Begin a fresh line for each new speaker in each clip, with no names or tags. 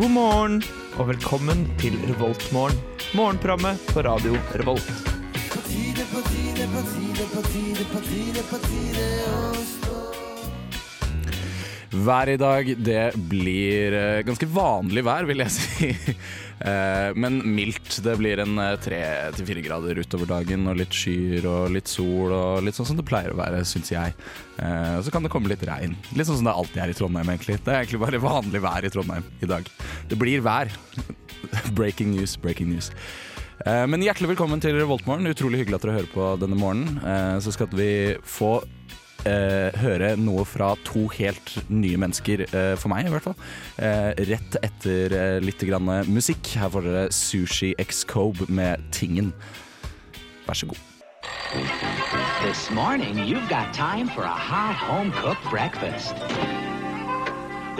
God morgen og velkommen til Revoltmorgen. Morgenprogrammet på radio Revolt.
Vær i dag, det blir eh, ganske vanlig vær, vil jeg si. Eh, Men mildt. Det blir en eh, tre til fire grader utover dagen, og litt skyer og litt sol og litt sånn som det pleier å være, syns jeg. Eh, Så kan det komme litt regn. Litt sånn som det alltid er i Trondheim, egentlig. Det er egentlig bare vanlig vær i Trondheim i dag. Det blir vær. Breaking news, breaking news. Eh, Men hjertelig velkommen til Revoltmorgen. Utrolig hyggelig at dere hører på denne morgenen. Eh, Så skal vi få eh, høre noe fra to helt nye mennesker, eh, for meg i hvert fall. Eh, rett etter eh, litt grann eh, musikk. Her får dere Sushi X Cobe med Tingen. Vær så god.
This morning, you've got time for a hot home cooked breakfast.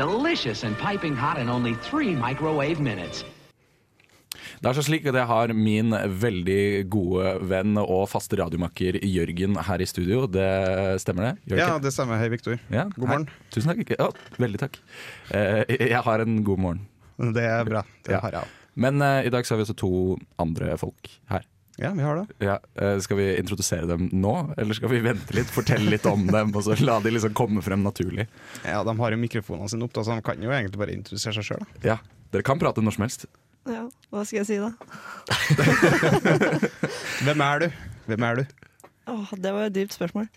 Delicious and piping hot in only three microwave minutes.
Det er så slik at jeg har min veldig gode venn og faste radiomakker Jørgen her i studio. Det stemmer det? Jørgen?
Ja, det stemmer. Hei, Viktor.
Ja,
God
hei.
morgen.
Tusen takk. Ja, veldig takk. Eh, jeg har en god morgen.
Det er bra. Det
Ja.
har jeg.
Men eh, i dag så har vi også to andre folk her.
Ja, vi har det.
Ja, eh, skal vi introdusere dem nå, eller skal vi vente litt, fortelle litt om dem, og så la de liksom komme frem naturlig?
Ja, De har jo mikrofonene sine opp, da, så de kan jo egentlig bare introdusere seg sjøl.
Ja, Dere kan prate når som helst.
Ja, hva skal jeg si da?
Hvem er du? Hvem er du?
Åh, det var et dypt spørsmål.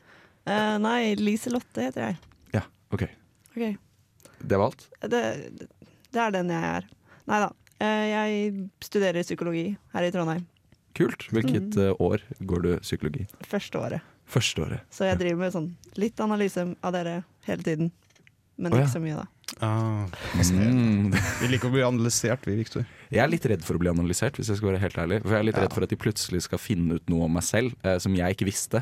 Eh, nei, Liselotte heter jeg.
Ja, ok.
Ok.
Det var alt?
Det, det er den jeg er. Nei da. Eh, jeg studerer psykologi her i Trondheim.
Kult. Hvilket eh, år går du psykologi?
Første året.
Første året.
Så jeg driver med sånn litt analyse av dere hele tiden. Men
Å, ja.
ikke så mye, da.
Ah,
Mm.
vi liker å bli analysert, vi, Viktor.
Jeg er litt redd for å bli analysert, hvis jeg skal være helt ærlig. For jeg er litt redd for at de plutselig skal finne ut noe om meg selv eh, som jeg ikke visste.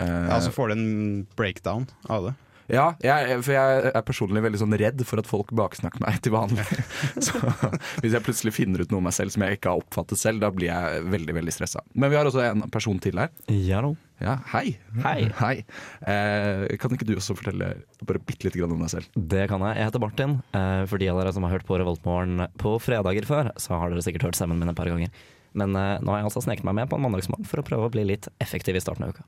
Eh,
Ja, så får du en breakdown av det.
Ja, jeg, for jeg er personlig veldig sånn redd for at folk baksnakker meg til vanlig. Så hvis jeg plutselig finner ut noe om meg selv som jeg ikke har oppfattet selv, da blir jeg veldig veldig stressa. Men vi har også en person til her.
Ja da.
Ja, Hei.
Hei.
Eh, kan ikke du også fortelle bare bitte lite grann om deg selv?
Det kan jeg. Jeg heter Martin. Eh, For de av dere som har hørt på Revoltmorgen på fredager før, så har dere sikkert hørt stemmen min et par ganger. Men eh, nå har jeg altså sneket meg med på en mandagsmorgen for å prøve å bli litt effektiv i starten av uka.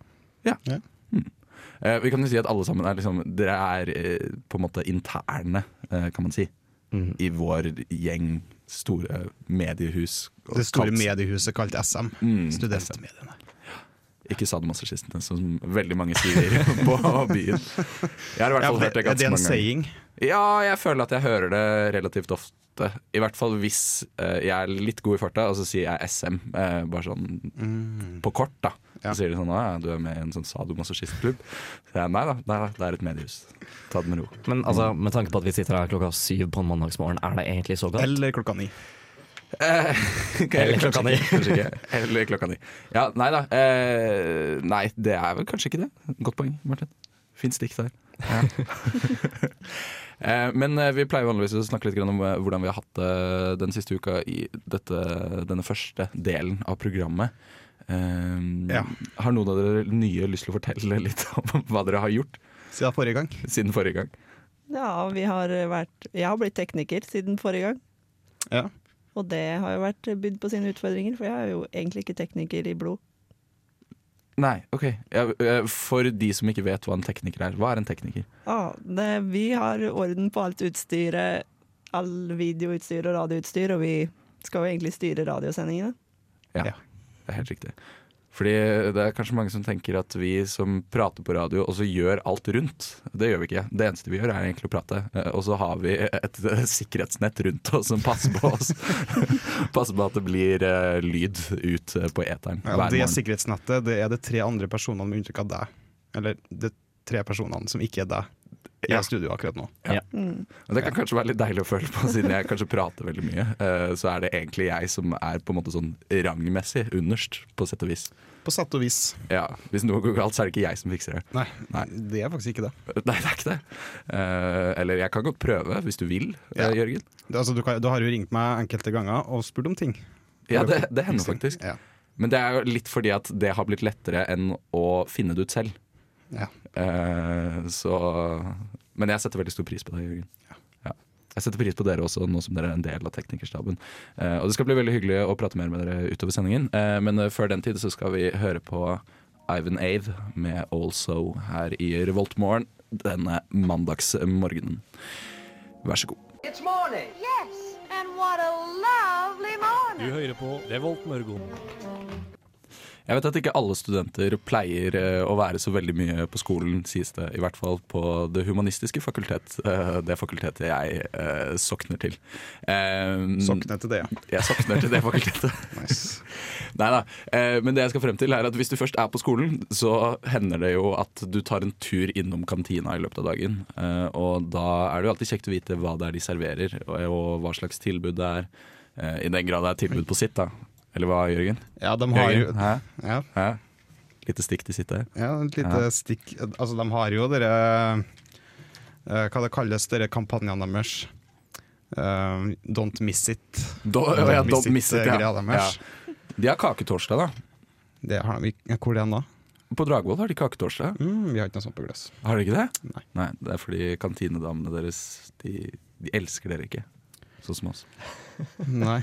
Eh, vi kan jo si at alle sammen er liksom Dere er eh, på en måte interne, eh, kan man si,
Mhm.
i vår gjeng store mediehus.
Det store
Kalt-
mediehuset kalt SM.
Mm,
Studentmediene.
Ikke sadomasochistene, som veldig mange sier på byen. Jeg har i hvert
Ja,
fall hørt det
det, er det
ganske
en
mange ganger.
saying?
Ja, jeg føler at jeg hører det relativt ofte. I hvert fall hvis eh, jeg er litt god i farta, og så sier jeg SM. eh, bare sånn på kort, da.
Mm. Ja.
Så sier de sånn Å ja, du er med i en sånn sadomasochistklubb. Så jeg nei da, nei da, det er et mediehus. Ta det med ro.
Men altså, med tanke på at vi sitter her klokka syv på en mandagsmorgen, er det egentlig så galt?
Eller klokka ni.
Eh,
Eller klokka
kanskje
ni.
ikke, kanskje ikke. Eller klokka ni. Ja, nei da. eh, nei, det er vel kanskje ikke det. Godt poeng, Martin. Fint stikk der. Eh, Men eh, vi pleier vanligvis å snakke litt grann om eh, hvordan vi har hatt det den siste uka i dette, denne første delen av programmet. Eh,
Ja.
Har noen av dere nye lyst til å fortelle litt om hva dere har gjort
Siden forrige gang.
siden forrige gang?
Ja, vi har vært Jeg har blitt tekniker siden forrige gang.
Ja.
Og det har jo vært bydd på sine utfordringer, for jeg er jo egentlig ikke tekniker i blod.
Nei, ok. Ja, eh, For de som ikke vet hva en tekniker er, hva er en tekniker?
Ja, det, vi har orden på alt utstyret, all videoutstyr og radioutstyr, og vi skal jo egentlig styre radiosendingene.
Ja,
Ja.
det er helt riktig. Fordi det er kanskje mange som tenker at vi som prater på radio, også gjør alt rundt. Det gjør vi ikke. Det eneste vi gjør, er egentlig å prate. Eh, Og så har vi et eh, sikkerhetsnett rundt oss som passer på oss. passer på at det blir eh, lyd ut eh, på eteren
Ja,
hver
det
morgen.
sikkerhetsnettet det er det tre andre personene med unntrykk av deg. Eller de tre personene som ikke er deg, i
Ja.
studio akkurat nå.
Og det kan kanskje være litt deilig å føle på, siden jeg kanskje prater veldig mye. Eh, Så er det egentlig jeg som er på en måte sånn rangmessig underst, på sett og vis.
På sett og vis.
Ja, Hvis noe går galt, så er det ikke jeg som fikser det.
Nei,
Nei.
det er faktisk ikke det.
Nei, det er ikke det. Eh, eller jeg kan godt prøve, hvis du vil, eh,
Ja.
Jørgen.
det altså, du, kan, du har jo ringt meg enkelte ganger og spurt om ting.
Ja, det, det hender faktisk.
Ja.
Men det er jo litt fordi at det har blitt lettere enn å finne det ut selv.
Ja.
Eh, så Men jeg setter veldig stor pris på det, Jørgen. Ja. Jeg setter pris på dere også, nå som dere er en del av teknikerstaben. Eh, og det skal bli veldig hyggelig å prate mer med dere utover sendingen. Eh, men eh, før den tid så skal vi høre på Ivan Ave med 'Also' her i Revoltmorgen denne mandagsmorgenen. Vær så god.
It's morning. Yes, and what a lovely morning.
Jeg vet at ikke alle studenter pleier eh, å være så veldig mye på skolen, sies det. I hvert fall på Det humanistiske fakultet, eh, det fakultetet jeg eh, sokner til. Eh,
Sokne Mm. til det, ja.
Jeg sokner til det fakultetet.
Nice.
Nei da. Eh, men det jeg skal frem til er at hvis du først er på skolen, så hender det jo at du tar en tur innom kantina i løpet av dagen. Eh, og da er det jo alltid kjekt å vite hva det er de serverer, og, og hva slags tilbud det er. Eh, I den grad det er tilbud på sitt, da. Eller hva, Jørgen?
Ja, de har jo
Jørgen? Hæ?
ja,
Hæ? Lite stikk til sitt der.
ja, et lite stikk Altså, de har jo dere eh, Hva det kalles, dere kampanjene deres. Eh, don't miss it.
Do, ja, ja, Don't miss it,
eh, greia
ja. ja.
deres.
De har kaketorsdag, da.
Det har de ikke. Hvor er den da?
På Dragvoll har de kaketorsdag.
Mm, vi har ikke noe sånt på gløss.
Har de ikke det?
Nei.
Det er fordi kantinedamene deres de, de elsker dere ikke. Sånn som oss.
Nei.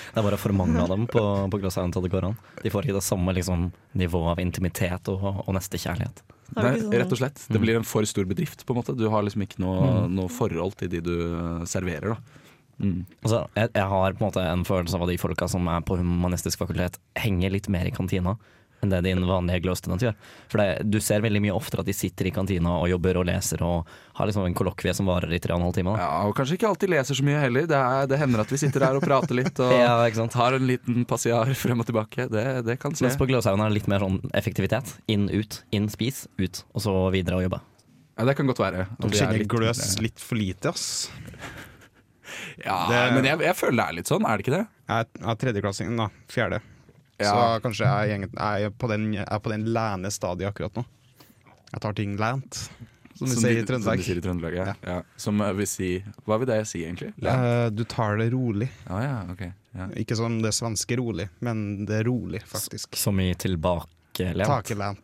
Det er bare for mange av dem på, på Glass Island til det går an. De får ikke det samme liksom, nivået av intimitet og, og nestekjærlighet.
Har
Nei,
du ikke sånn-
rett og slett.
Mm.
Det blir en for stor bedrift. på en måte Du har liksom ikke noe, noe forhold til de du eh, serverer. da
Altså, jeg, jeg har på en måte en følelse av at de folka som er på humanistisk fakultet, henger litt mer i kantina enn det din vanlige Glow-student gjør. For det, du ser veldig mye oftere at de sitter i kantina og jobber og leser og har liksom en kollokvie som varer i tre og en halv time. Da.
Ja, Og kanskje ikke alltid leser så mye heller. Det, er, det hender at vi sitter her og prater litt og
Ja, ikke sant?
tar en liten passiar frem og tilbake. Det, det kan skje.
Mens på Gløshaugen er det litt mer sånn effektivitet. Inn, ut. Inn, spis, ut. Og så videre og jobbe.
Ja, det kan godt være. at
De
vi er
kjenner
litt-
gløs litt for lite, ass.
Ja,
Det-
Men jeg, jeg føler det er litt sånn, er det ikke det?
Jeg er- jeg er tredjeklassingen, da. Fjerde.
Ja.
Så kanskje jeg, er egentlig- jeg er på den, jeg er på den læne stadiet akkurat nå. Jeg tar ting lænt, som de sier
Som
i
de
Trøndelag.
sier i Trøndelag, ja.
Ja.
ja. Som eh, vil si Hva vil det si, egentlig? Ja,
Eh, du tar det rolig.
ah, ja ok. Ja.
Ikke som det svenske rolig, men det er rolig, faktisk.
Så mye tilbakelent.
Takelent.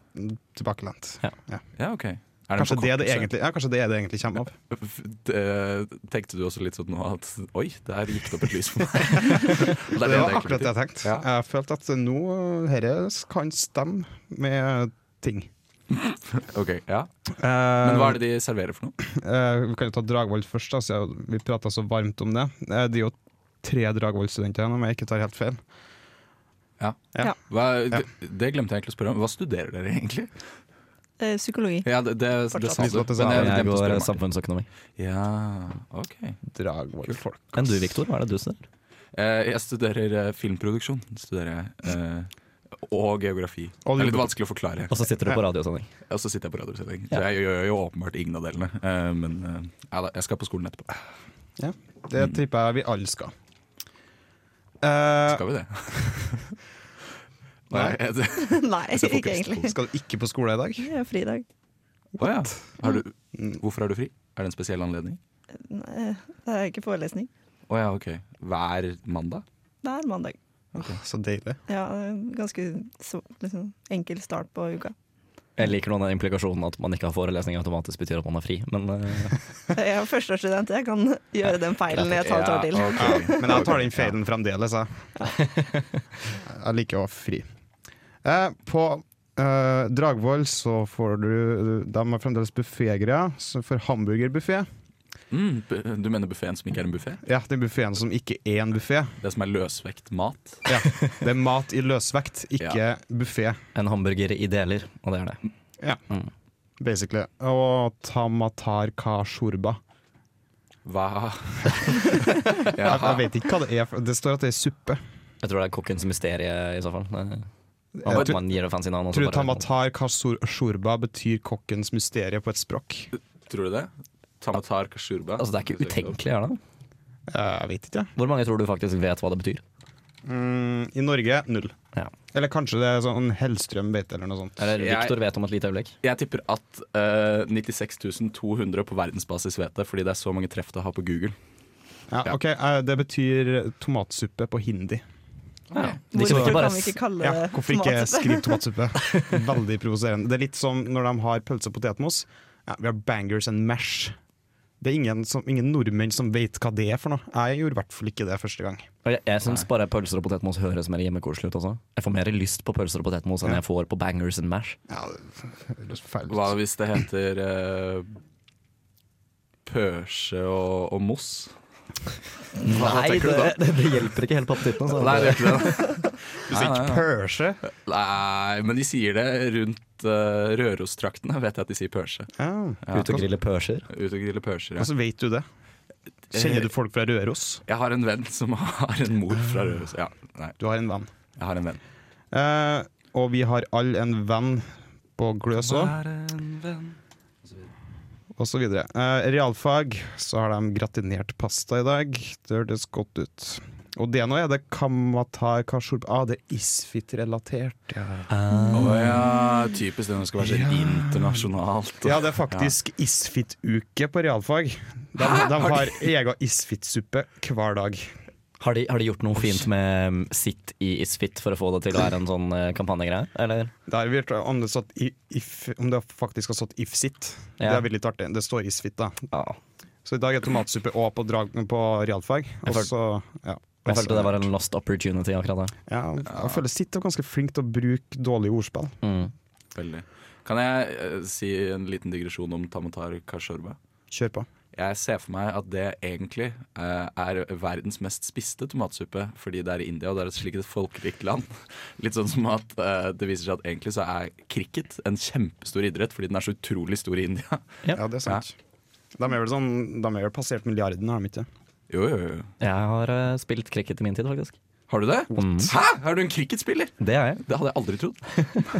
Tilbakelent.
Ja.
ja, ok. Er en
Kanskje det, det
forkortelse?
egentlig, ja, kanskje det er det egentlig kommer av.
F- det- Tenkte du også litt sånn nå at Oi, der gikk det opp et lys for meg. Og
Det
er
var
jeg
akkurat det jeg tenkte.
Ja.
Jeg følte at nå dette kan stemme med ting.
tenkte. Ok, ja Men hva er det de serverer for noe?
Eh, vi kan jo ta Dragvoll først, da, siden vi prata så varmt om det. Eh, det er jo tre Dragvoll-studenter igjen, om jeg ikke tar helt feil.
Hva, det, det glemte jeg egentlig å spørre om. Hva studerer dere egentlig?
Eh, Psykologi.
Ja, det, det, det sa du.
Fortsatt.
Men jeg
Jeg
glemte å
går
spørre om.
samfunnsøkonomi.
Ja, ok
Dragvoll-folk.
Enn du, Viktor? Hva er det du studerer?
Eh, Jeg studerer eh, filmproduksjon. Studerer jeg eh, Og geografi. Det er litt vanskelig å forklare.
Og så sitter du på radiosending.
Og så sitter jeg på radiosending. Så jeg gjør jo åpenbart ingen av delene. Eh, Men eh, ja da, jeg skal på skolen etterpå.
Ja, det tipper jeg vi alle skal. Eh,
Skal vi det?
Nei.
Nei, jeg-
Nei,
ser
ikke
fokus på-
egentlig.
skal du ikke på skole i dag?
Det er fridag.
Å ja. Har du,
Mm.
hvorfor er du fri? Er det en spesiell anledning?
Nei, det er ikke forelesning.
Å ja, ok. Hver mandag?
Det er mandag.
Så deilig.
Ja, det er en ganske så, liksom, enkel start på uka.
Jeg liker noen av implikasjonen at man ikke har forelesning automatisk betyr at man er fri, men eh,
Jeg er førsteårsstudent, jeg kan gjøre den feilen i et halvt år til.
Ja, ok.
Men jeg tar den feilen fremdeles, jeg. Jeg liker å være fri. Eh, på eh, Dragvoll så får du De har fremdeles buffégreier, så for hamburgerbuffé
Mm, bu- du mener buffeen som ikke er en buffé?
Ja, den buffeen som ikke er en buffé.
Det som er løsvekt mat?
Ja, det er mat i løsvekt, ikke
Ja.
buffé.
en hamburger i deler, og det er det.
Basically. Og tamatar ka shorba.
Hva?
Jeg, jeg vet ikke hva det er, for det står at det er suppe.
Jeg tror det er kokkens mysterium i så fall. Det-
Jeg
At
tror,
man gir det fancy navn. og så
tror
bare-
tamatar ka shor- shorba betyr kokkens mysterium på et språk.
Tror du det? Tamatar kashurba?
Altså, det er ikke utenkelig, er det?
Jeg vet ikke, jeg.
Hvor mange tror du faktisk vet hva det betyr?
Mm, I Norge null.
Ja.
Eller kanskje det er sånn Hellstrøm beite eller noe sånt.
Eller
Jeg-
Viktor vet om et lite øyeblikk.
Jeg tipper at eh, 96 200 på verdensbasis vet det, fordi det er så mange treff det har på Google.
Ja,
Ja.
ok, eh, Det betyr tomatsuppe på hindi.
De kan
Hvorfor
ikke bare
kan vi ikke kalle
Ja,
det
hvorfor ikke
tomatsuppe?
skrive tomatsuppe? Veldig provoserende. Det er litt som når de har pølse og potetmos. Ja, vi har bangers and mash. Det er ingen, som, ingen nordmenn som vet hva det er for noe. Jeg gjorde i hvert fall ikke det første gang.
Og Jeg, jeg syns bare pølser og potetmos høres mer hjemmekoselig ut også. Jeg får mer lyst på pølser og potetmos enn jeg får på bangers and mash.
Ja, det høres feil
Hva
ut.
hvis det heter eh, pørse og, og moss?
Nei, det, det, det hjelper ikke helt på appetitten. altså.
Nei, det er ikke det.
Du sier
Nei, nei,
ikke
nei.
pørse?
Nei, men de sier det rundt uh, Rørosdraktene. Vet jeg at de sier pørse.
Ja.
Ut og grille pørser.
Ut og grille pørser, ja.
Hvordan vet du det? Kjenner du folk fra Røros?
Jeg har en venn som har en mor fra Røros. Ja, nei,
Du har en venn.
jeg har en venn.
Eh, og vi har alle en venn på Gløs òg. og så videre. Eh, realfag, så har de gratinert pasta i dag. Det hørtes godt ut. Og det nå er det kamatar kashurba Ah, det er isfit-relatert. Ja.
Ah.
Å ja, typisk det når det skal være så internasjonalt.
ja, det er faktisk isfit-uke på realfag. De, de har egen isfit-suppe hver dag.
Har de, har de gjort noe fint med mm, sitt i isfit for å få det til å være en sånn eh, kampanjegreie? Eller?
Det har vært om det, satt i- if, om det faktisk har stått if-sitt. Det
Ja.
er veldig litt artig. Det står isfit, da.
Ja.
Så i dag er tomatsuppe og på, drag, på realfag. Og så, ja.
Jeg følte det var en lost opportunity, akkurat det.
ja, Jeg føler Sitt er ganske flink til å bruke dårlige ordspill.
Mm.
Veldig. Kan jeg eh, si en liten digresjon om tamatar kashorba?
Kjør på.
Jeg ser for meg at det egentlig eh, er verdens mest spiste tomatsuppe, fordi det er i India, og det er et slikt et folkerikt land. Litt sånn som at eh, det viser seg at egentlig så er cricket en kjempestor idrett, fordi den er så utrolig stor i India.
Ja.
Ja, det er sant. De er vel sånn, de er vel passert milliarden, har de ikke?
Jo, jo, jo.
Jeg har eh, spilt cricket i min tid, faktisk.
Har du det? Hæ? Er du en cricketspiller?
Det er jeg.
Det hadde jeg aldri trodd.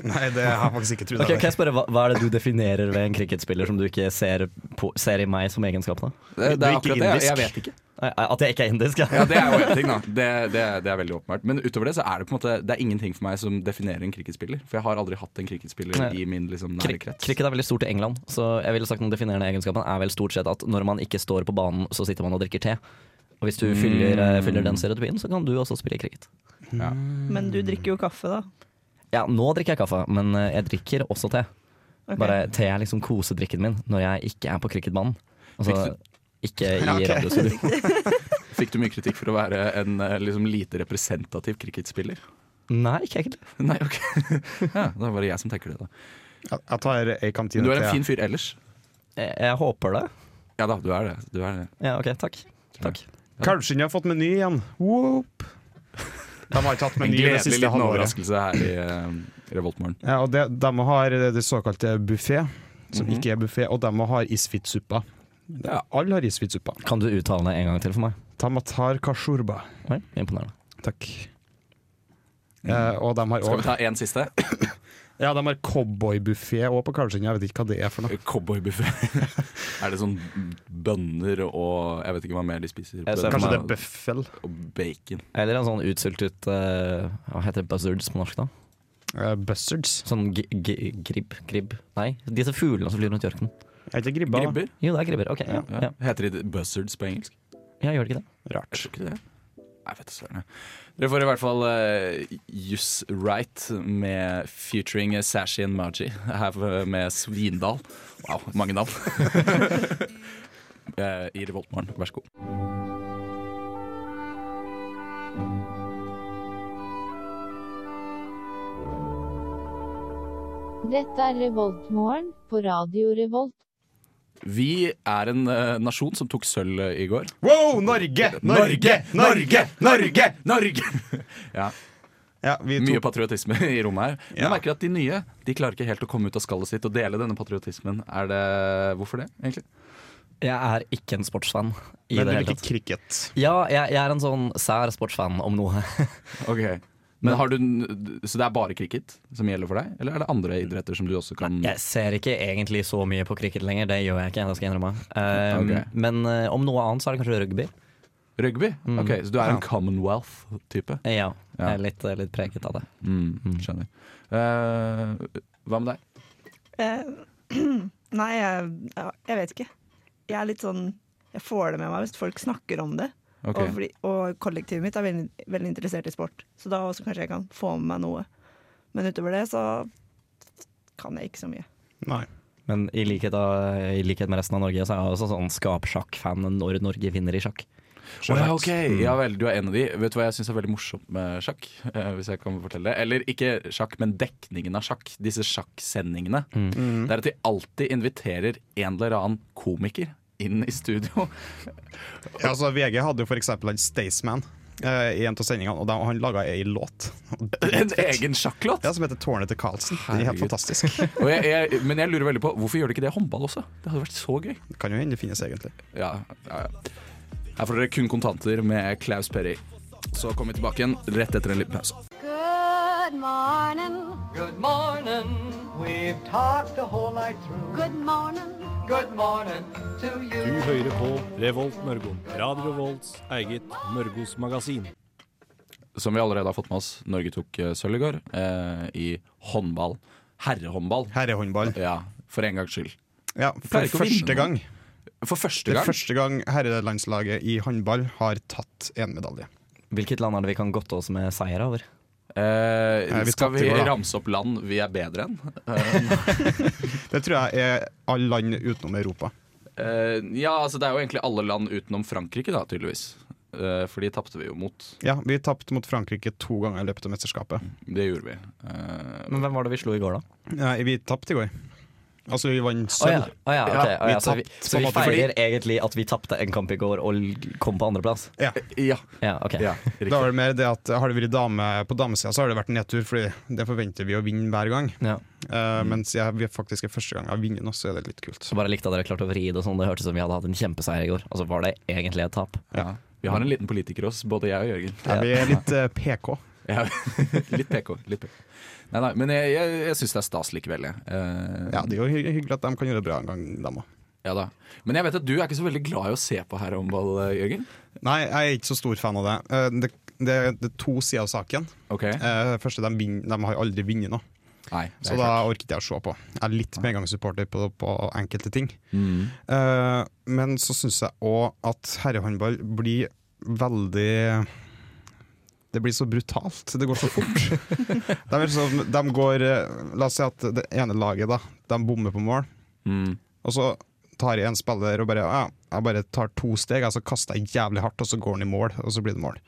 Nei, det har jeg faktisk ikke trodd.
Ok, kan jeg spørre, hva, hva er det du definerer ved en cricketspiller som du ikke ser, på, ser i meg som egenskap? da?
Det, det
Du er
er
ikke
akkurat det. Jeg,
indisk.
jeg vet ikke.
Nei, At jeg ikke er indisk?
Ja, Det er jo en ting, da. Det, det, det er veldig åpenbart. Men utover det så er det på en måte Det er ingenting for meg som definerer en cricketspiller. For jeg har aldri hatt en
Nei.
cricketspiller i min liksom,
Kri-
nære krets.
Cricket er veldig stort i England, så jeg ville sagt den definerende egenskapen er vel stort sett at når man ikke står på banen, så sitter man og drikker te. Og hvis du fyller, eh, fyller den stereotypien, så kan du også spille cricket.
Ja.
Men du drikker jo kaffe, da.
Ja, nå drikker jeg kaffe, men eh, jeg drikker også te.
Ok.
Bare te er liksom kosedrikken min når jeg ikke er på cricketbanen. Altså,
Fikk
ikke i
Ja, ok.
radiostudio.
Fikk du mye kritikk for å være en eh, liksom, lite representativ cricketspiller?
Nei, ikke egentlig.
Nei, ok. ja, det er bare jeg som tenker det, da.
Jeg jeg tar ei kantine
Du er en
til.
fin fyr ellers.
Jeg, jeg håper det.
Ja da, du er det. Du er det.
Ja, OK, takk. Takk.
Kanskje de har fått meny igjen. Whoop. De har ikke hatt
En
meny det
gledelig
siste
liten
halvåret.
overraskelse her i eh, Revoltmorgen.
Ja, og det, de har det såkalte buffé, som ikke er buffé, og de har isfittsuppa.
Mhm. Ja.
Alle har isfittsuppa.
Kan du uttale det en gang til for meg?
Tamatar kashurba.
Vel, imponerende.
Takk. Eh, og de har
Mhm. Skal vi
også
ta en siste?
Ja, de har cowboybuffé òg på Karlsund. Jeg vet ikke hva det er for noe.
Cowboybuffé. er det sånn bønner og Jeg vet ikke hva mer de spiser. på
Jeg ser
den.
for
Kanskje det
meg-
er bøffel.
Og bacon.
Eller en sånn utsultet eh, Hva heter det buzzards på norsk, da?
Eh, buzzards.
Sånn gi- gi- gribb, gribb Nei, disse fuglene som flyr rundt i ørkenen.
Er ikke gribba? da?
Gribber?
Jo, det er gribber. Ok, ja.
Ja.
Ja.
Heter de buzzards på engelsk?
ja, gjør det ikke det?
Jeg tror ikke det. Jeg vet da søren. jeg. Dere får i hvert fall uh, Juss Right med featuring Sashi and Maji her for- med Svindal. Wow, mange navn. Eh, I Revoltmorgen, vær så god.
Dette er Revoltmorgen på Radio Revolt.
Vi er en eh, nasjon som tok sølv eh, i går.
Wow, Norge! Norge! Norge! Norge!
Norge! ja,
Ja, vi
Mye
tok,
patriotisme i rommet her. Men
Ja.
jeg merker at de nye de klarer ikke helt å komme ut av skallet sitt og dele denne patriotismen. Er det, hvorfor det, egentlig?
Jeg er ikke en sportsfan i
men
det
du
hele
liker
tatt.
cricket.
Ja, jeg, jeg er en sånn sær sportsfan om noe.
Ok men har du, n- Så det er bare cricket som gjelder for deg, eller er det andre idretter som du også kan
Jeg ser ikke egentlig så mye på cricket lenger, det gjør jeg ikke. det skal jeg innrømme um,
Ok.
Men eh, om noe annet så er det kanskje rugby.
Rugby? Ok, Så du er en Commonwealth-type?
Eh, Ja,
Ja.
Jeg er litt, eh, litt preget av det.
Mm, skjønner. Eh, hva med deg?
Eh, nei, jeg, ja, jeg vet ikke. Jeg er litt sånn Jeg får det med meg hvis folk snakker om det.
Ok.
Og, fordi, og kollektivet mitt er veldig, veldig interessert i sport, så da også kanskje jeg kan få med meg noe. Men utover det så kan jeg ikke så mye.
Nei.
Men i likhet, av, i likhet med resten av Norge, så er jeg også sånn skapsjakk-fan når Norge vinner i sjakk.
Å ja, ok. ja vel, du er en av de. Vet du hva jeg syns er veldig morsomt med sjakk? Eh, hvis jeg kan fortelle det. Eller ikke sjakk, men dekningen av sjakk. Disse sjakksendingene. Det er at de alltid inviterer en eller annen komiker inn i studio.
Ja, altså, VG hadde jo for eksempel han Staysman eh, i en av sendingene, og da, han laga ei låt
En egen sjakklåt!
ja, som heter 'Tårnet til Carlsen'. Den er helt
Herregud.
fantastisk.
Og jeg, jeg, men jeg lurer veldig på, hvorfor gjør de ikke det i håndball også? Det hadde vært så gøy.
Det kan jo hende det finnes, egentlig.
Ja, ja, ja. Her får dere kun kontanter med Klaus Perry. Så kommer vi tilbake igjen rett etter en liten pause.
Good morning.
Good morning. We've talked the whole night through.
Good morning.
Good morning to you.
hører på Revolt Mørgo. Radio Revolts eget Mørgos magasin.
Som vi allerede har fått med oss, Norge tok eh, sølv i går eh, i håndball. Herrehåndball.
Herrehåndball.
Ja, for en gangs skyld.
Ja, for
pleier ikke å
første
vinne
gang.
For første
Det er
gang.
første gang herrelandslaget i håndball har tatt en medalje.
Hvilket land er det vi kan godte oss med seier over?
Nei,
Eh,
vi
skal
tapte
vi
i går, da.
ramse opp land vi er bedre enn?
Det tror jeg er alle land utenom Europa.
Eh, ja, altså det er jo egentlig alle land utenom Frankrike, da, tydeligvis. Eh, for de tapte vi jo mot.
Ja, Vi tapte mot Frankrike to ganger i løpet av mesterskapet.
Det gjorde vi. Eh,
Men hvem var det vi slo i går, da?
Nei, vi tapte i går. Altså, vi vant sølv.
Mm. Å ja, ok. Å
vi
ja, så vi,
tapte
så
på en
vi
måte
feirer egentlig at vi tapte en kamp i går og l- kom på andreplass?
Ja.
ja,
Ja, ok.
ja,
Da
riktig.
var det mer det at Har det vært dame på damesida, så har det vært nedtur, Fordi det forventer vi å vinne hver gang.
Ja.
Eh, mens jeg vi faktisk er første gang jeg har vunnet nå, så er det litt kult.
Mm. Så bare likte at dere klarte å vri det og sånn. Det hørtes ut som vi hadde hatt en kjempeseier i går, og så var det egentlig et tap.
Ja. Vi har en liten politiker hos oss, både jeg og Jørgen.
Ja, vi er litt eh, PK.
Ja. litt PK. Litt PK. Nei, nei, men jeg, jeg, jeg syns det er stas likevel. jeg. Eh,
Ja, Det er jo hy- hyggelig at de kan gjøre det bra en gang, dem òg.
ja da. Men jeg vet at du er ikke så veldig glad i å se på herrehåndball, eh, Jørgen.
Nei, jeg er ikke så stor fan av det. Eh, det, det, det er to sider av saken.
Ok,
Eh, første, de, vinner- de har jo aldri vunnet nå,
nei det er
så da orker ikke jeg å se på. Jeg er litt medgangssupporter på, på enkelte ting.
Mm,
Eh, men så syns jeg òg at herrehåndball blir veldig det blir så brutalt. Det går så fort. de, er sånn- de går eh, La oss si at det ene laget da De bommer på mål,
Mm.
og så tar jeg en spiller og bare ja, Jeg bare tar to steg, og så kaster jeg jævlig hardt, og så går han i mål, og så blir det mål.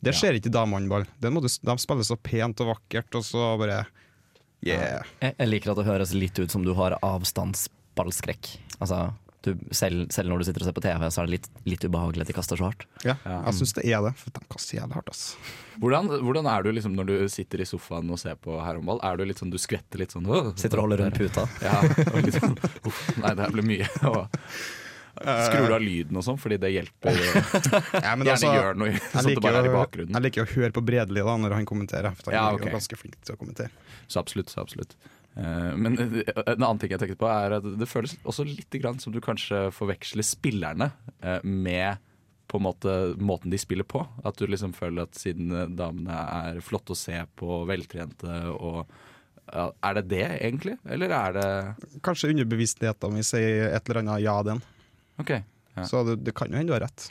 Det skjer ikke i damehåndball. Det må du- De spiller så pent og vakkert, og så bare Yeah.
Jeg, jeg liker at det høres litt ut som du har avstandsballskrekk. Altså, du, selv, selv når du sitter og ser på TV, så er det litt, litt ubehagelig at de kaster så hardt.
Ja, jeg syns det er det, for de kaster jævlig hardt, ass.
Hvordan, hvordan er du liksom når du sitter i sofaen og ser på herrehåndball? Er du litt sånn, du skvetter litt sånn «Åh».
Sitter og holder rundt puta.
Ja, og litt sånn Uff, nei, det her ble mye. Og skrur du av lyden og sånn, fordi det hjelper. eh,
Ja, men
Gjerne
altså,
gjør noe
jeg
sånn at det bare er i
å-
bakgrunnen.
Jeg liker å høre på Bredli da, når han kommenterer, for han
Ja,
er
ok.
jo ganske flink til å kommentere.
Så absolutt, så absolutt. Eh, Men eh, en annen ting jeg tenkte på, er at det føles også litt grann som du kanskje forveksler spillerne eh, med på en måte måten de spiller på. At du liksom føler at siden eh, damene er flotte å se på, veltrente og ja, Er det det, egentlig? Eller er det
Kanskje underbevisstheten min sier et eller annet ja den.
OK. Ja.
Så det, det kan jo hende du har rett.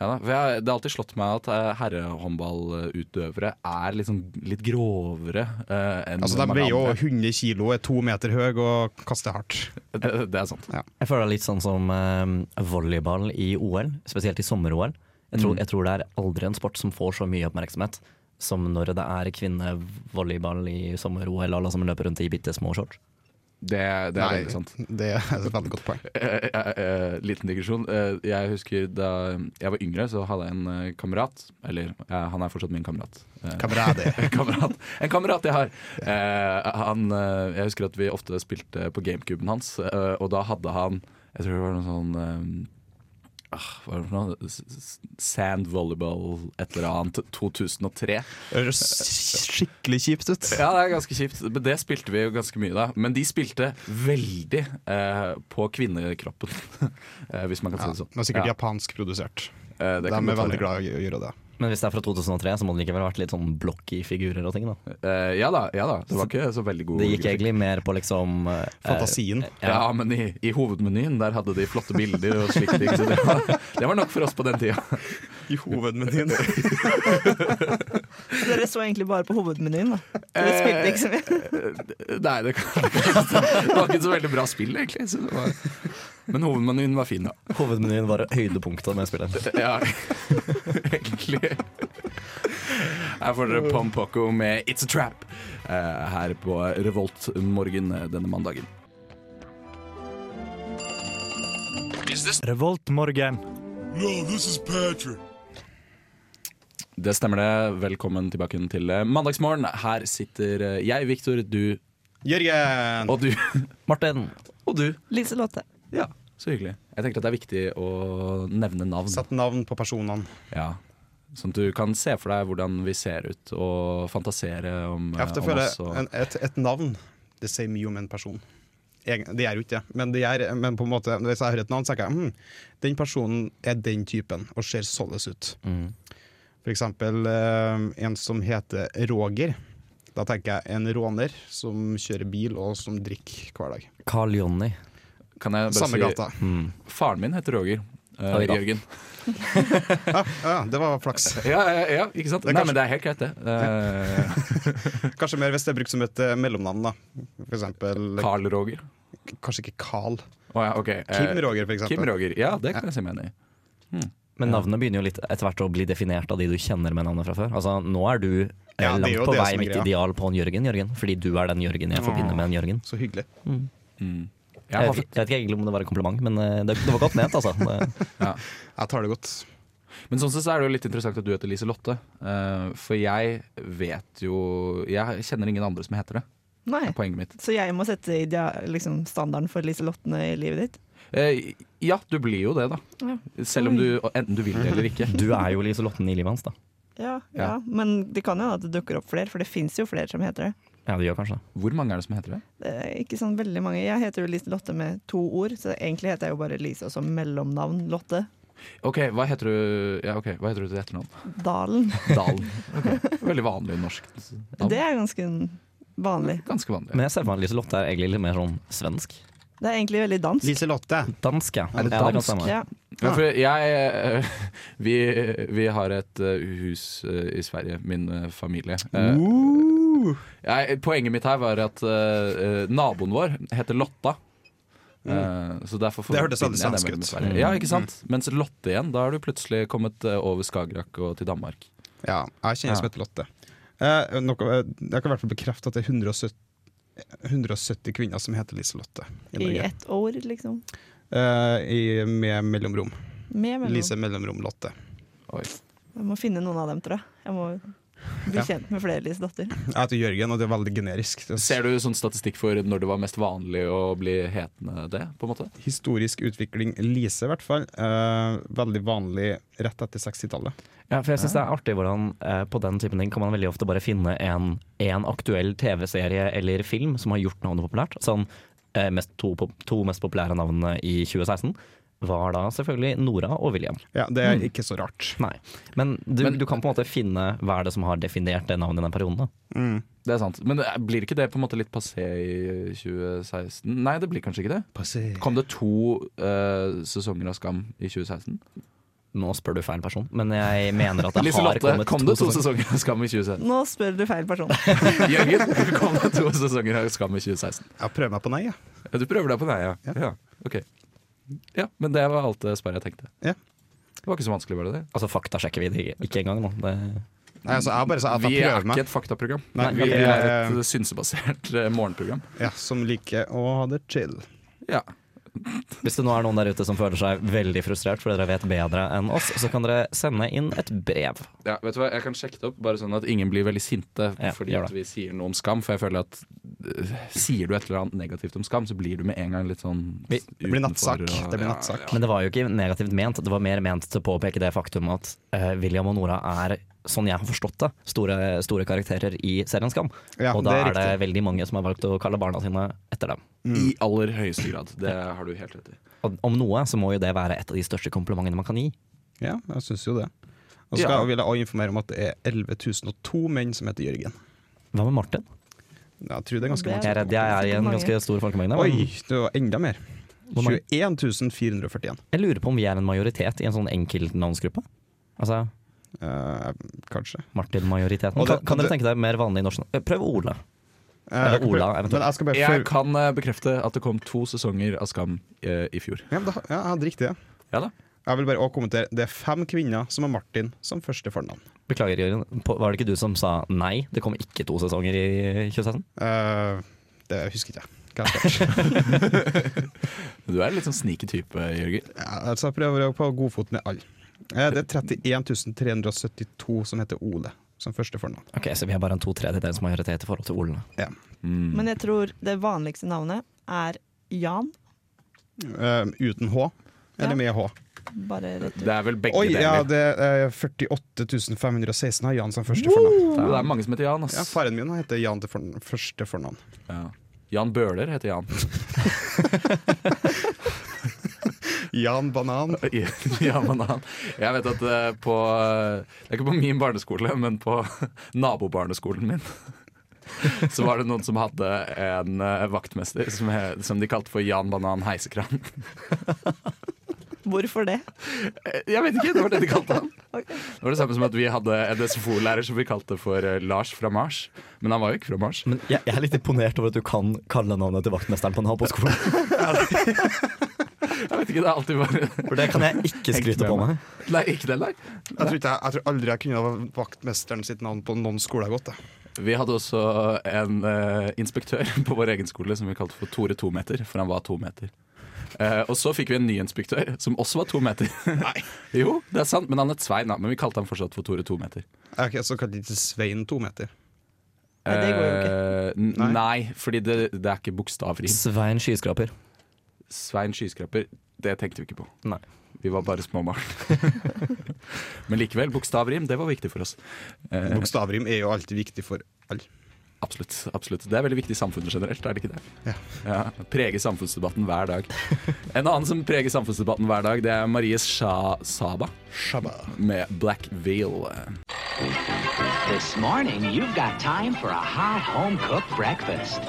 Ja da, for jeg, Det har alltid slått meg at eh, herrehåndballutøvere er liksom litt grovere eh, enn
Altså, De
mange
veier jo
andre.
100 kilo, er to meter høy og kaster hardt.
Det, det er sant.
Jeg føler det er litt sånn som eh, volleyball i OL, spesielt i sommer-OL. Jeg,
Mm.
tror- jeg tror det er aldri en sport som får så mye oppmerksomhet som når det er kvinnevolleyball i sommer-OL og alle som løper rundt i bitte små shorts.
Det, det er veldig sant.
det er et veldig godt poeng.
Eh, eh, eh, liten digresjon. Eh, jeg husker da jeg var yngre, så hadde jeg en eh, kamerat. Eller eh, han er fortsatt min kamerat. Eh,
Kamerade.
en kamerat. En kamerat jeg har. Eh, han, eh, jeg husker at vi ofte spilte på gamecuben hans, eh, og da hadde han Jeg tror det var noe sånn eh, ah, hva er det for noe? S- s- Sand volleyball, et eller annet. 2003.
Det høres skikkelig kjipt ut.
Ja, det er ganske kjipt. Men det spilte vi jo ganske mye da. Men de spilte veldig eh, på kvinnekroppen, eh, hvis man kan si det sånn.
Det er sikkert
Ja.
japansk produsert.
Eh, det
De
kan
er
godt være.
veldig glad i å gjøre det.
Men hvis det er fra 2003, så må det likevel ha vært litt sånn blokky figurer og ting, da.
Eh, ja da, ja da. Det var ikke så veldig god
Det gikk
grafikk.
egentlig mer på liksom eh,
Fantasien.
Ja, men i, i hovedmenyen der hadde de flotte bilder og slike ting. Så det var, det var nok for oss på den tida.
I hovedmenyen.
Dere så egentlig bare på hovedmenyen, da. Det spilte ikke så mye.
Eh, Nei, det, kan, det var ikke så veldig bra spill, egentlig. Så det var, men hovedmenyen var fin, ja.
Hovedmenyen var høydepunktet med spillet.
Ja, egentlig. Her får dere Pom Poco med 'It's a Trap' eh, her på Revolt morgen eh, denne mandagen.
Revoltmorgen.
Det stemmer det. Velkommen tilbake til eh, mandagsmorgen. Her sitter eh, jeg, Victor, du
Jørgen!
og du.
Martin,
Og du.
Liselotte.
Ja, så hyggelig. Jeg tenker at det er viktig å nevne navn.
Satt navn på personene.
Ja. Sånn at du kan se for deg hvordan vi ser ut, og fantasere om, eh,
Jeg ofte
om
føler
oss. Og...
en, et, et navn Det sier mye om en person. Egen, det gjør jo ikke det, men, det gjør, men på en måte, hvis jeg hører et navn, så tenker jeg hm, den personen er den typen og ser således ut.
Mm.
For eksempel eh, en som heter Roger. Da tenker jeg en råner som kjører bil og som drikker hver dag.
Carl Jonny.
Kan jeg bare Mm.
Samme
si
gata.
Faren min heter Roger. Eh,
Oi da.
Jørgen.
Ja, det var flaks.
Ja, ja, ja, ikke sant?
Det er
Nei, men
kanskje-
det er helt greit, det. Eh,
Kanskje mer hvis det er brukt som et eh, mellomnavn. da For eksempel
Carl Roger.
Kanskje ikke Carl.
Å ja, ok. Eh,
Kim Roger, for eksempel.
Kim Roger. Ja, det kan jeg si meg enig i.
Men navnet begynner jo litt etter hvert å bli definert av de du kjenner med navnet fra før. Altså, nå er du eh,
Ja, det er
langt
jo
på
det
vei
som er
mitt
greia.
ideal på en Jørgen, Jørgen. Fordi du er den Jørgen jeg forbinder med en Jørgen.
Så hyggelig.
Jeg
Jeg
har
vet, ikke- Eh, jeg vet ikke egentlig om det var et kompliment, men eh, det, det var godt ment, altså. Det,
Jeg tar det godt.
Men sånn sett så er det jo litt interessant at du heter Lise Lotte. eh, for jeg vet jo Jeg kjenner ingen andre som heter det.
Nei.
er Poenget mitt.
Så jeg må sette idea- liksom, standarden for Liselottene i livet ditt?
Eh, ja, du blir jo det, da. Selv om du enten du vil det eller ikke.
du er jo Lise Lotten i livet hans, da.
Ja, ja.
Ja.
Men det kan jo hende at det dukker opp flere, for det fins jo flere som heter det.
Ja, du gjør kanskje det.
Hvor mange er det som heter det?
det er ikke sånn veldig mange. Jeg heter jo Liselotte med to ord, så egentlig heter jeg jo bare Lise og som mellomnavn Lotte.
Ok, hva heter du, ja, ok, hva heter du til etternavn?
Dalen.
Dalen. Ok, Veldig vanlig norsk navn.
Det er ganske vanlig.
Ganske vanlig.
Men jeg ser for meg at Lise Lotte er egentlig litt mer sånn svensk.
Det er egentlig veldig dansk.
Lise Lotte.
Dansk, ja.
Er det
Ja,
dansk?
kan stemme.
Ja.
Ja, for jeg, eh, vi, vi har et eh, hus eh, i Sverige, min eh, familie. Eh,
Uh.
jeg, poenget mitt her var at eh, eh, naboen vår heter Lotta. Eh, så derfor
Mm. Det hørtes
forbinder
veldig
jeg
svensk
det med
ut. Mm.
Sverige. Ja, ikke sant? Mens Lotte igjen, da har du plutselig kommet eh, over Skagerrak og til Danmark.
Ja, jeg
Ja.
kjenner som heter Lotte. Eh, noe, eh, jeg kan i hvert fall bekrefte at det er 170, 170 kvinner som heter Lise Lotte i
I
Norge.
ett ord, liksom.
Eh, i, med mellomrom.
Med mellom.
Lise mellomrom Lotte.
Oi.
Jeg må finne noen av dem, tror jeg. Jeg må bli
Ja.
kjent med flere Liselotter.
Jeg heter Jørgen, og det er veldig generisk. Det er
Ser du sånn statistikk for når det var mest vanlig å bli hetende det? på en måte?
Historisk utvikling Lise, i hvert fall. Eh, veldig vanlig rett etter 60-tallet.
Ja, for jeg synes det er artig hvordan eh, på den typen ting kan man veldig ofte bare finne en, en aktuell TV-serie eller film som har gjort navnet populært. Sånn eh, mest to, pop- to mest populære navnene i 2016 var da selvfølgelig Nora og William.
Ja, det er ikke så rart.
Nei, men du,
Men-
du kan på en måte finne hva er det som har definert det navnet i den perioden. Da.
Det er sant. Men det- blir ikke det på en måte litt passé i 2016? Nei, det blir kanskje ikke det. Kom det to eh, sesonger av Skam i 2016?
Nå spør du feil person, men jeg mener at det
Lise
har
Lotte,
kommet
kom det to sesonger av Skam i 2016?
Nå spør du feil person.
Jørgen, kom det to sesonger av Skam i 2016?
Jeg prøver meg på nei, jeg.
Ja, du prøver deg på det, ja. ja. Ok. Ja, men det var alt det sperret jeg tenkte.
Ja.
Det var ikke så vanskelig, var det det?
Altså fakta sjekker vi det ikke engang nå. Det,
Nei, altså, jeg bare sa at
Vi
jeg
er
prøver
ikke
meg.
et faktaprogram.
Nei,
vi
vi
er
er-
et synsebasert eh, morgenprogram.
Ja, som liker å ha det chill.
Ja.
Hvis det nå er noen der ute som føler seg veldig frustrert fordi dere vet bedre enn oss, så kan dere sende inn et brev.
Ja, vet du hva, Jeg kan sjekke det opp, bare sånn at ingen blir veldig sinte
Ja,
fordi
gjør
at
det.
vi sier noe om skam. For jeg føler at eh, sier du et eller annet negativt om skam, så blir du med en gang litt sånn
Vi-
Det blir
utenfor
nattsak.
og-
Det blir
ja,
nattsak.
Men det var jo ikke negativt ment, det var mer ment til å påpeke det faktum at eh, William og Nora er, sånn jeg har forstått det, store, store karakterer i serien Skam.
Ja,
og da
det er
er, det veldig mange som har valgt å kalle barna sine etter dem.
I
Mm.
aller høyeste grad. Det har du helt rett i.
Og om noe så må jo det være et av de største komplimentene man kan gi.
Ja, jeg syns jo det. Og så
Ja.
skal- vil jeg også informere om at det er 11.002 menn som heter Jørgen.
Hva med Martin?
Jeg tror det er ganske
Det
mange.
Jeg er redd jeg er i en ganske stor folkemengde. men
Oi, det var enda mer.
Hvor mange?
21 441.
Jeg lurer på om vi er en majoritet i en sånn enkeltnavnsgruppe. Altså,
Eh, kanskje.
Martin-majoriteten.
Og det-
Kan, kan dere
det-
tenke deg mer vanlig norsk? Eh, Prøv Ola.
Eh,
Eller Ola,
men
eventuelt.
jeg skal bare
Jeg
for...
kan eh, bekrefte at det kom to sesonger av Skam eh, i fjor.
ja, men da, ja, jeg hadde riktig det.
Ja da.
Jeg vil bare også kommentere Det er fem kvinner som har Martin som første fornavn.
Beklager, Jørgen. På- Var det ikke du som sa nei? Det kom ikke to sesonger i 2016?
Eh, det husker ikke jeg. Hva jeg. skal-
Du er en litt sånn sneaky type, Jørgen.
Ja, altså, jeg prøver å være på godfot med alle. Eh, det er 31 372 som heter Ole som første fornavn.
Ok, Så vi har bare en to tredjedels majoritet i forhold til Ola.
Mm.
Men jeg tror det vanligste navnet er Jan.
Eh, uten H eller
Ja.
med H.
Bare rett
Det er vel begge
Oi, ja,
deler.
det er 48 516 har Jan som første fornavn.
det... er mange som heter Jan. Ass.
Ja, faren min heter Jan til forn første fornavn.
Ja. Jan Bøhler heter Jan.
Jan Banan.
ja, men han, jeg vet at eh, på Det er ikke på min barneskole, men på nabobarneskolen min. Så var det noen som hadde en eh, vaktmester som, he- som de kalte for Jan Banan Heisekran.
ut. Hvorfor det?
Eh, Jeg vet ikke, det var det de kalte han. Det var det samme som at vi hadde en SFO-lærer som vi kalte for eh, Lars fra Mars. Men han var jo ikke fra Mars.
Men jeg, jeg er litt imponert over at du kan kalle navnet til vaktmesteren på en naboskole.
Jeg vet ikke, det har alltid vært
For det kan jeg ikke skryte på meg.
Nei, ikke det, nei.
Jeg tror, ikke jeg, jeg tror aldri jeg kunne ha vaktmesteren sitt navn på noen skole jeg har gått. jeg.
Vi hadde også en eh, inspektør på vår egen skole som vi kalte for Tore to meter, for han var to meter. Eh, og så fikk vi en ny inspektør som også var to meter. Nei. jo, det er sant, men han het Svein, da. Men vi kalte han fortsatt for Tore to meter.
Ok, så kalte de til Svein to meter.
Nei, det går jo ikke.
Eh, n-
Nei.
nei, fordi det, det er ikke bokstavrim.
Svein Skyskraper.
Svein Skyskraper, det tenkte vi ikke på.
Nei.
Vi var bare små barn. men likevel, bokstavrim, det var viktig for oss. Eh,
Bokstavrim er jo alltid viktig for alle.
Absolutt. absolutt. Det er veldig viktig i samfunnet generelt, er det ikke det?
Ja.
Ja, preger samfunnsdebatten hver dag. En annen som preger samfunnsdebatten hver dag, det er Marie Sha Saba
Shabba.
med Black Veil.
This morning, you've got time for a hot home cooked breakfast.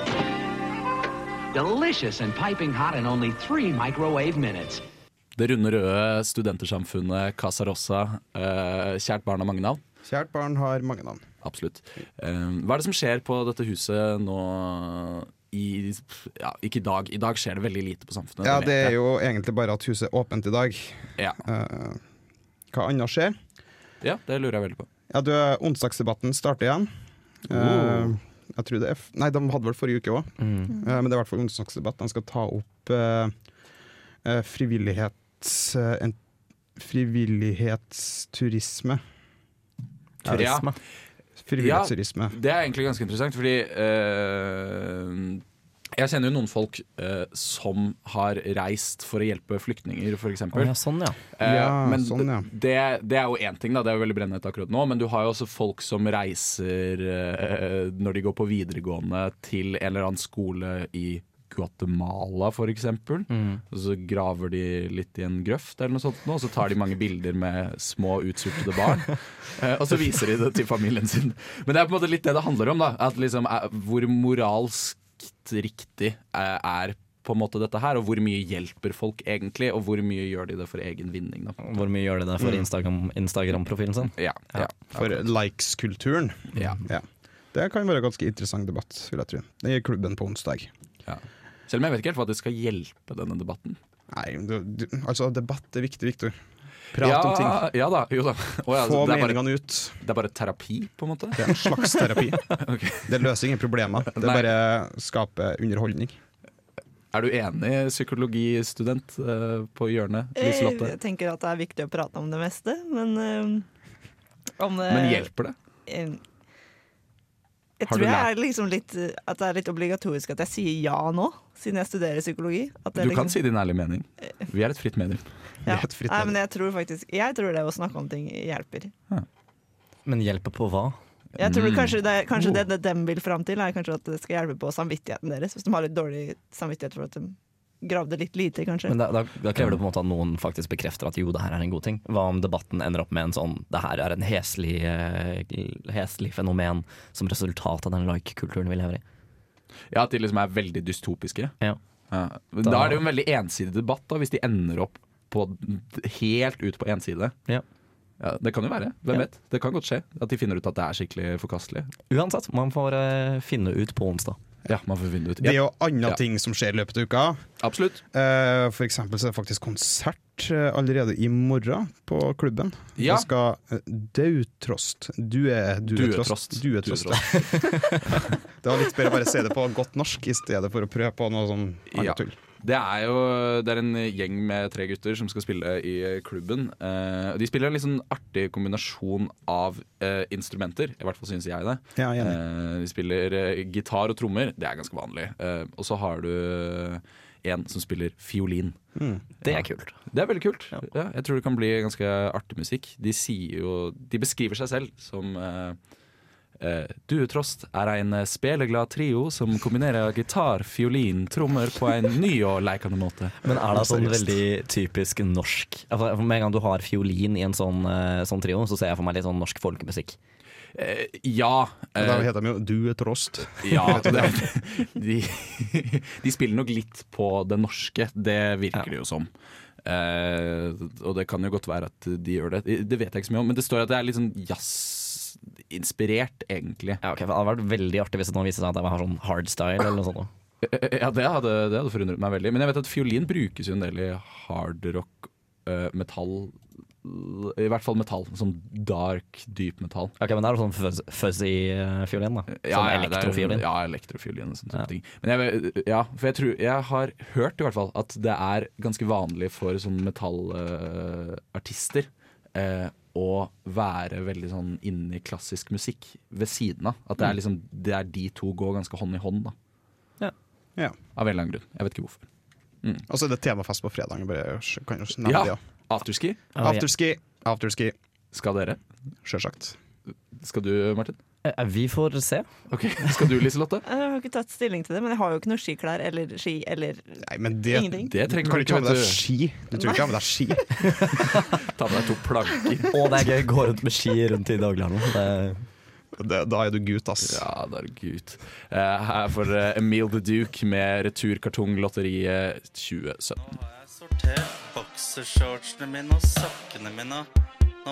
Delicious and piping hot in only three microwave minutes.
Det runde røde studentersamfunnet Casa Rosa. eh, Kjært barn har mange navn.
Kjært barn har mange navn.
Absolutt. Eh, Hva er det som skjer på dette huset nå i ja, Ikke i dag. I dag skjer det veldig lite på samfunnet.
Ja,
vet
Det er
jeg.
jo egentlig bare at huset er åpent i dag.
ja.
Eh, hva annet skjer?
ja, det lurer jeg veldig på.
Ja, du, eh, Onsdagsdebatten starter igjen. Eh, jeg tror det er f Nei, de hadde vel forrige uke òg.
Mm.
Eh, men det er i hvert fall onsdagsdebatt. De skal ta opp eh, eh, frivillighets... eh, en frivillighetsturisme.
Ja.
Turisme.
Frivillighetsturisme.
Det er egentlig ganske interessant, fordi eh, jeg kjenner jo noen folk eh, som har reist for å hjelpe flyktninger, f.eks.
Å ja, sånn ja.
Eh,
Ja,
men
sånn, ja.
det, det er jo én ting, da, det er jo veldig brennhett akkurat nå. Men du har jo også folk som reiser eh, når de går på videregående til en eller annen skole i Guatemala f.eks.
Mm.
Og så graver de litt i en grøft, eller noe sånt nå, og så tar de mange bilder med små utsultede barn. eh, og så viser de det til familien sin. Men det er på en måte litt det det handler om. da at liksom, eh, Hvor moralsk riktig eh, er på en måte dette her, og hvor mye hjelper folk egentlig, og hvor mye gjør de det for egen vinning. Da.
Hvor mye gjør det det for Instagram- Instagram-profilen sin?
Ja, ja.
For likes-kulturen.
Ja.
Ja. Det kan være en ganske interessant debatt, vil jeg tro. I klubben på onsdag.
Ja. Selv om jeg vet ikke helt hva det skal hjelpe denne debatten.
Nei, du, du, altså, debatt er viktig, Viktor. Prat
ja,
om ting.
Ja da, jo da. Å ja, så
Få
det, er bare,
meningene ut.
det er bare terapi, på en måte?
Det er en slags terapi.
Ok.
Det løser ingen problemer. Det
Nei.
bare skaper underholdning.
Er du enig, psykologistudent eh, på hjørnet, Liselotte?
Jeg tenker at det er viktig å prate om det meste, men eh, om det
Men hjelper det?
Eh, Jeg
Har du
tror jeg
lært-
er liksom litt, eh, at det er litt obligatorisk at jeg sier ja nå, siden jeg studerer psykologi. At det
Du kan
liksom,
si din ærlige mening. Vi er et fritt medium.
ja.
Det er et fritt
Nei,
medium.
men jeg tror faktisk Jeg tror det å snakke om ting hjelper.
Men hjelper på hva?
Jeg tror
Mm.
kanskje det,
Oh.
kanskje det, det dem vil fram til, er kanskje at det skal hjelpe på samvittigheten deres. Hvis de har litt dårlig samvittighet for at de gravde litt lite, kanskje.
Men da, da, da krever det på en måte at noen faktisk bekrefter at jo, det her er en god ting. Hva om debatten ender opp med en sånn det her er en heslig, eh, heslig fenomen som resultat av den like-kulturen vi lever i.
Ja, At de liksom er veldig dystopiske.
Ja.
Ja. Men Da, er det jo en veldig ensidig debatt, da, hvis de ender opp på, helt ut på én side.
Ja.
Ja, det kan jo være. Hvem
Ja.
vet? Det kan godt skje at de finner ut at det er skikkelig forkastelig.
Uansett, man får eh, finne ut på onsdag.
Ja, man får finne det ut.
Det er
Ja,
jo andre
Ja.
ting som skjer i løpet av uka.
absolutt.
Eh, For eksempel så er det faktisk konsert eh, allerede i morgen på klubben.
Ja.
Det skal eh, Dautrost. Due, duetrost.
Duetrost.
Duetrost. det var litt bedre å bare si det på godt norsk i stedet for å prøve på noe sånn annet
Ja.
tull.
Det er jo det er en gjeng med tre gutter som skal spille i klubben. Eh, de spiller en litt sånn artig kombinasjon av eh, instrumenter, i hvert fall syns jeg det.
Ja, jeg er enig.
Eh, de spiller eh, gitar og trommer, det er ganske vanlig. Eh, og så har du eh, en som spiller fiolin.
Mm.
Det er kult.
Det er veldig kult. Ja. jeg tror det kan bli ganske artig musikk. De, sier jo, de beskriver seg selv som eh, eh, Duetrost er en speleglad trio som kombinerer gitar, fiolin, trommer på en ny og lekende måte.
Men er det sånn veldig typisk norsk altså, for Med en gang du har fiolin i en sånn, eh, sånn trio, så ser jeg for meg litt sånn norsk folkemusikk.
Eh, ja.
Og Da
eh,
heter de jo Duetrost.
ja det, de, de spiller nok litt på det norske, det virker det jo som. Eh, og det kan jo godt være at de gjør det. Det vet jeg ikke så mye om, men det står at det er litt sånn jazzinspirert, egentlig.
Ja, ok, for Det hadde vært veldig artig hvis det nå viste seg at jeg var sånn hardstyle eller noe sånt. da.
Ja, det hadde, det hadde forundret meg veldig. Men jeg vet at fiolin brukes jo en del i hardrock, uh, metall I hvert fall metall. Sånn dark, dyp metall.
Ok, Men det er jo sånn fuzz- fuzzy eh, fiolin, da. Sånn
det er-
elektrofiolin.
Ja, elektrofiolin og sånne
Ja.
type ting. Men jeg, vet- ja, for jeg, tror, jeg har hørt i hvert fall at det er ganske vanlig for sånne metallartister eh, å være veldig sånn inne i klassisk musikk ved siden av. At det er liksom det er de to går ganske hånd i hånd, da.
Ja.
Av en eller annen grunn. Jeg vet ikke hvorfor.
Og så er det temafest på fredag. Jeg Bare, kan jo nevne det,
Ja,
ja.
afterski
Ja, vi-
Afterski. Afterski,
skal dere.
sjølsagt.
Skal du, Martin?
Eh, Vi får se.
Ok, Skal du, Liselotte?
Jeg har ikke tatt stilling til det, men jeg har jo ikke noe skiklær eller ski eller
Nei, men det
ingenting.
Det
Du
trenger
kan
du
ikke ha
ikke.
med deg ski. Du tror ikke jeg har med deg ski.
Ta med deg to planker.
Å, det er gøy. Gå rundt med ski rundt i dagligdagen. Det-
Det, da er du gutt, ass.
Ja, da er det gutt. Eh, Her får dere Emil the Duke med eh, Returkartonglotteriet 2017.
Jeg sortert boksershortsene mine og sokkene mine. Nå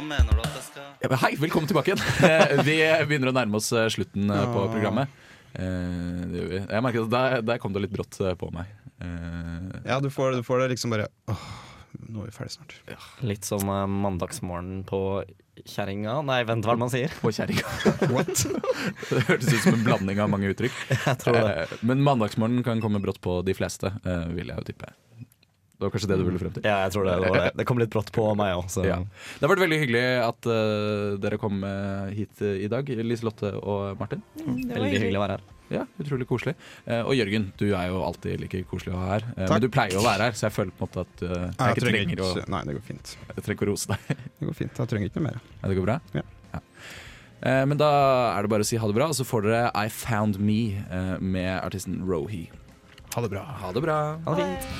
mener du at jeg skal
Ja, men Hei, velkommen tilbake igjen. Eh, Vi begynner å nærme oss eh, slutten eh, på
Ja.
programmet. Eh, Det gjør vi. Jeg merket at der, der kom det litt brått eh, på meg. Eh,
Ja, du får, du får det liksom bare Åh, nå er vi ferdig snart.
Litt som eh, mandagsmorgen på kjerringa Nei, vent, hva er det man sier?
På kjerringa. Det hørtes ut som en blanding av mange uttrykk.
Jeg tror det.
Eh, Men mandagsmorgen kan komme brått på de fleste, eh, vil jeg jo tippe. Det var kanskje det du ville frem til?
Ja, jeg tror det, det var det. Det kom litt brått på meg òg, så
Ja. Det har vært veldig hyggelig at eh, dere kom eh, hit eh, i dag, Liselotte og Martin.
Det var
veldig hyggelig å være her.
Ja, Utrolig koselig. Eh, og Jørgen, du er jo alltid like koselig å ha her. Eh,
Takk.
men du pleier jo å være her, så jeg føler på en måte at eh, jeg, ikke trenger å,
Nei, det går fint.
jeg trenger ikke å rose deg.
Det går fint, Jeg trenger ikke noe mer.
Ja, det går bra?
Ja.
Eh, men da er det bare å si ha det bra, og så får dere I Found Me eh, med artisten Rohi.
Ha det bra.
Ha det bra.
Ha det fint.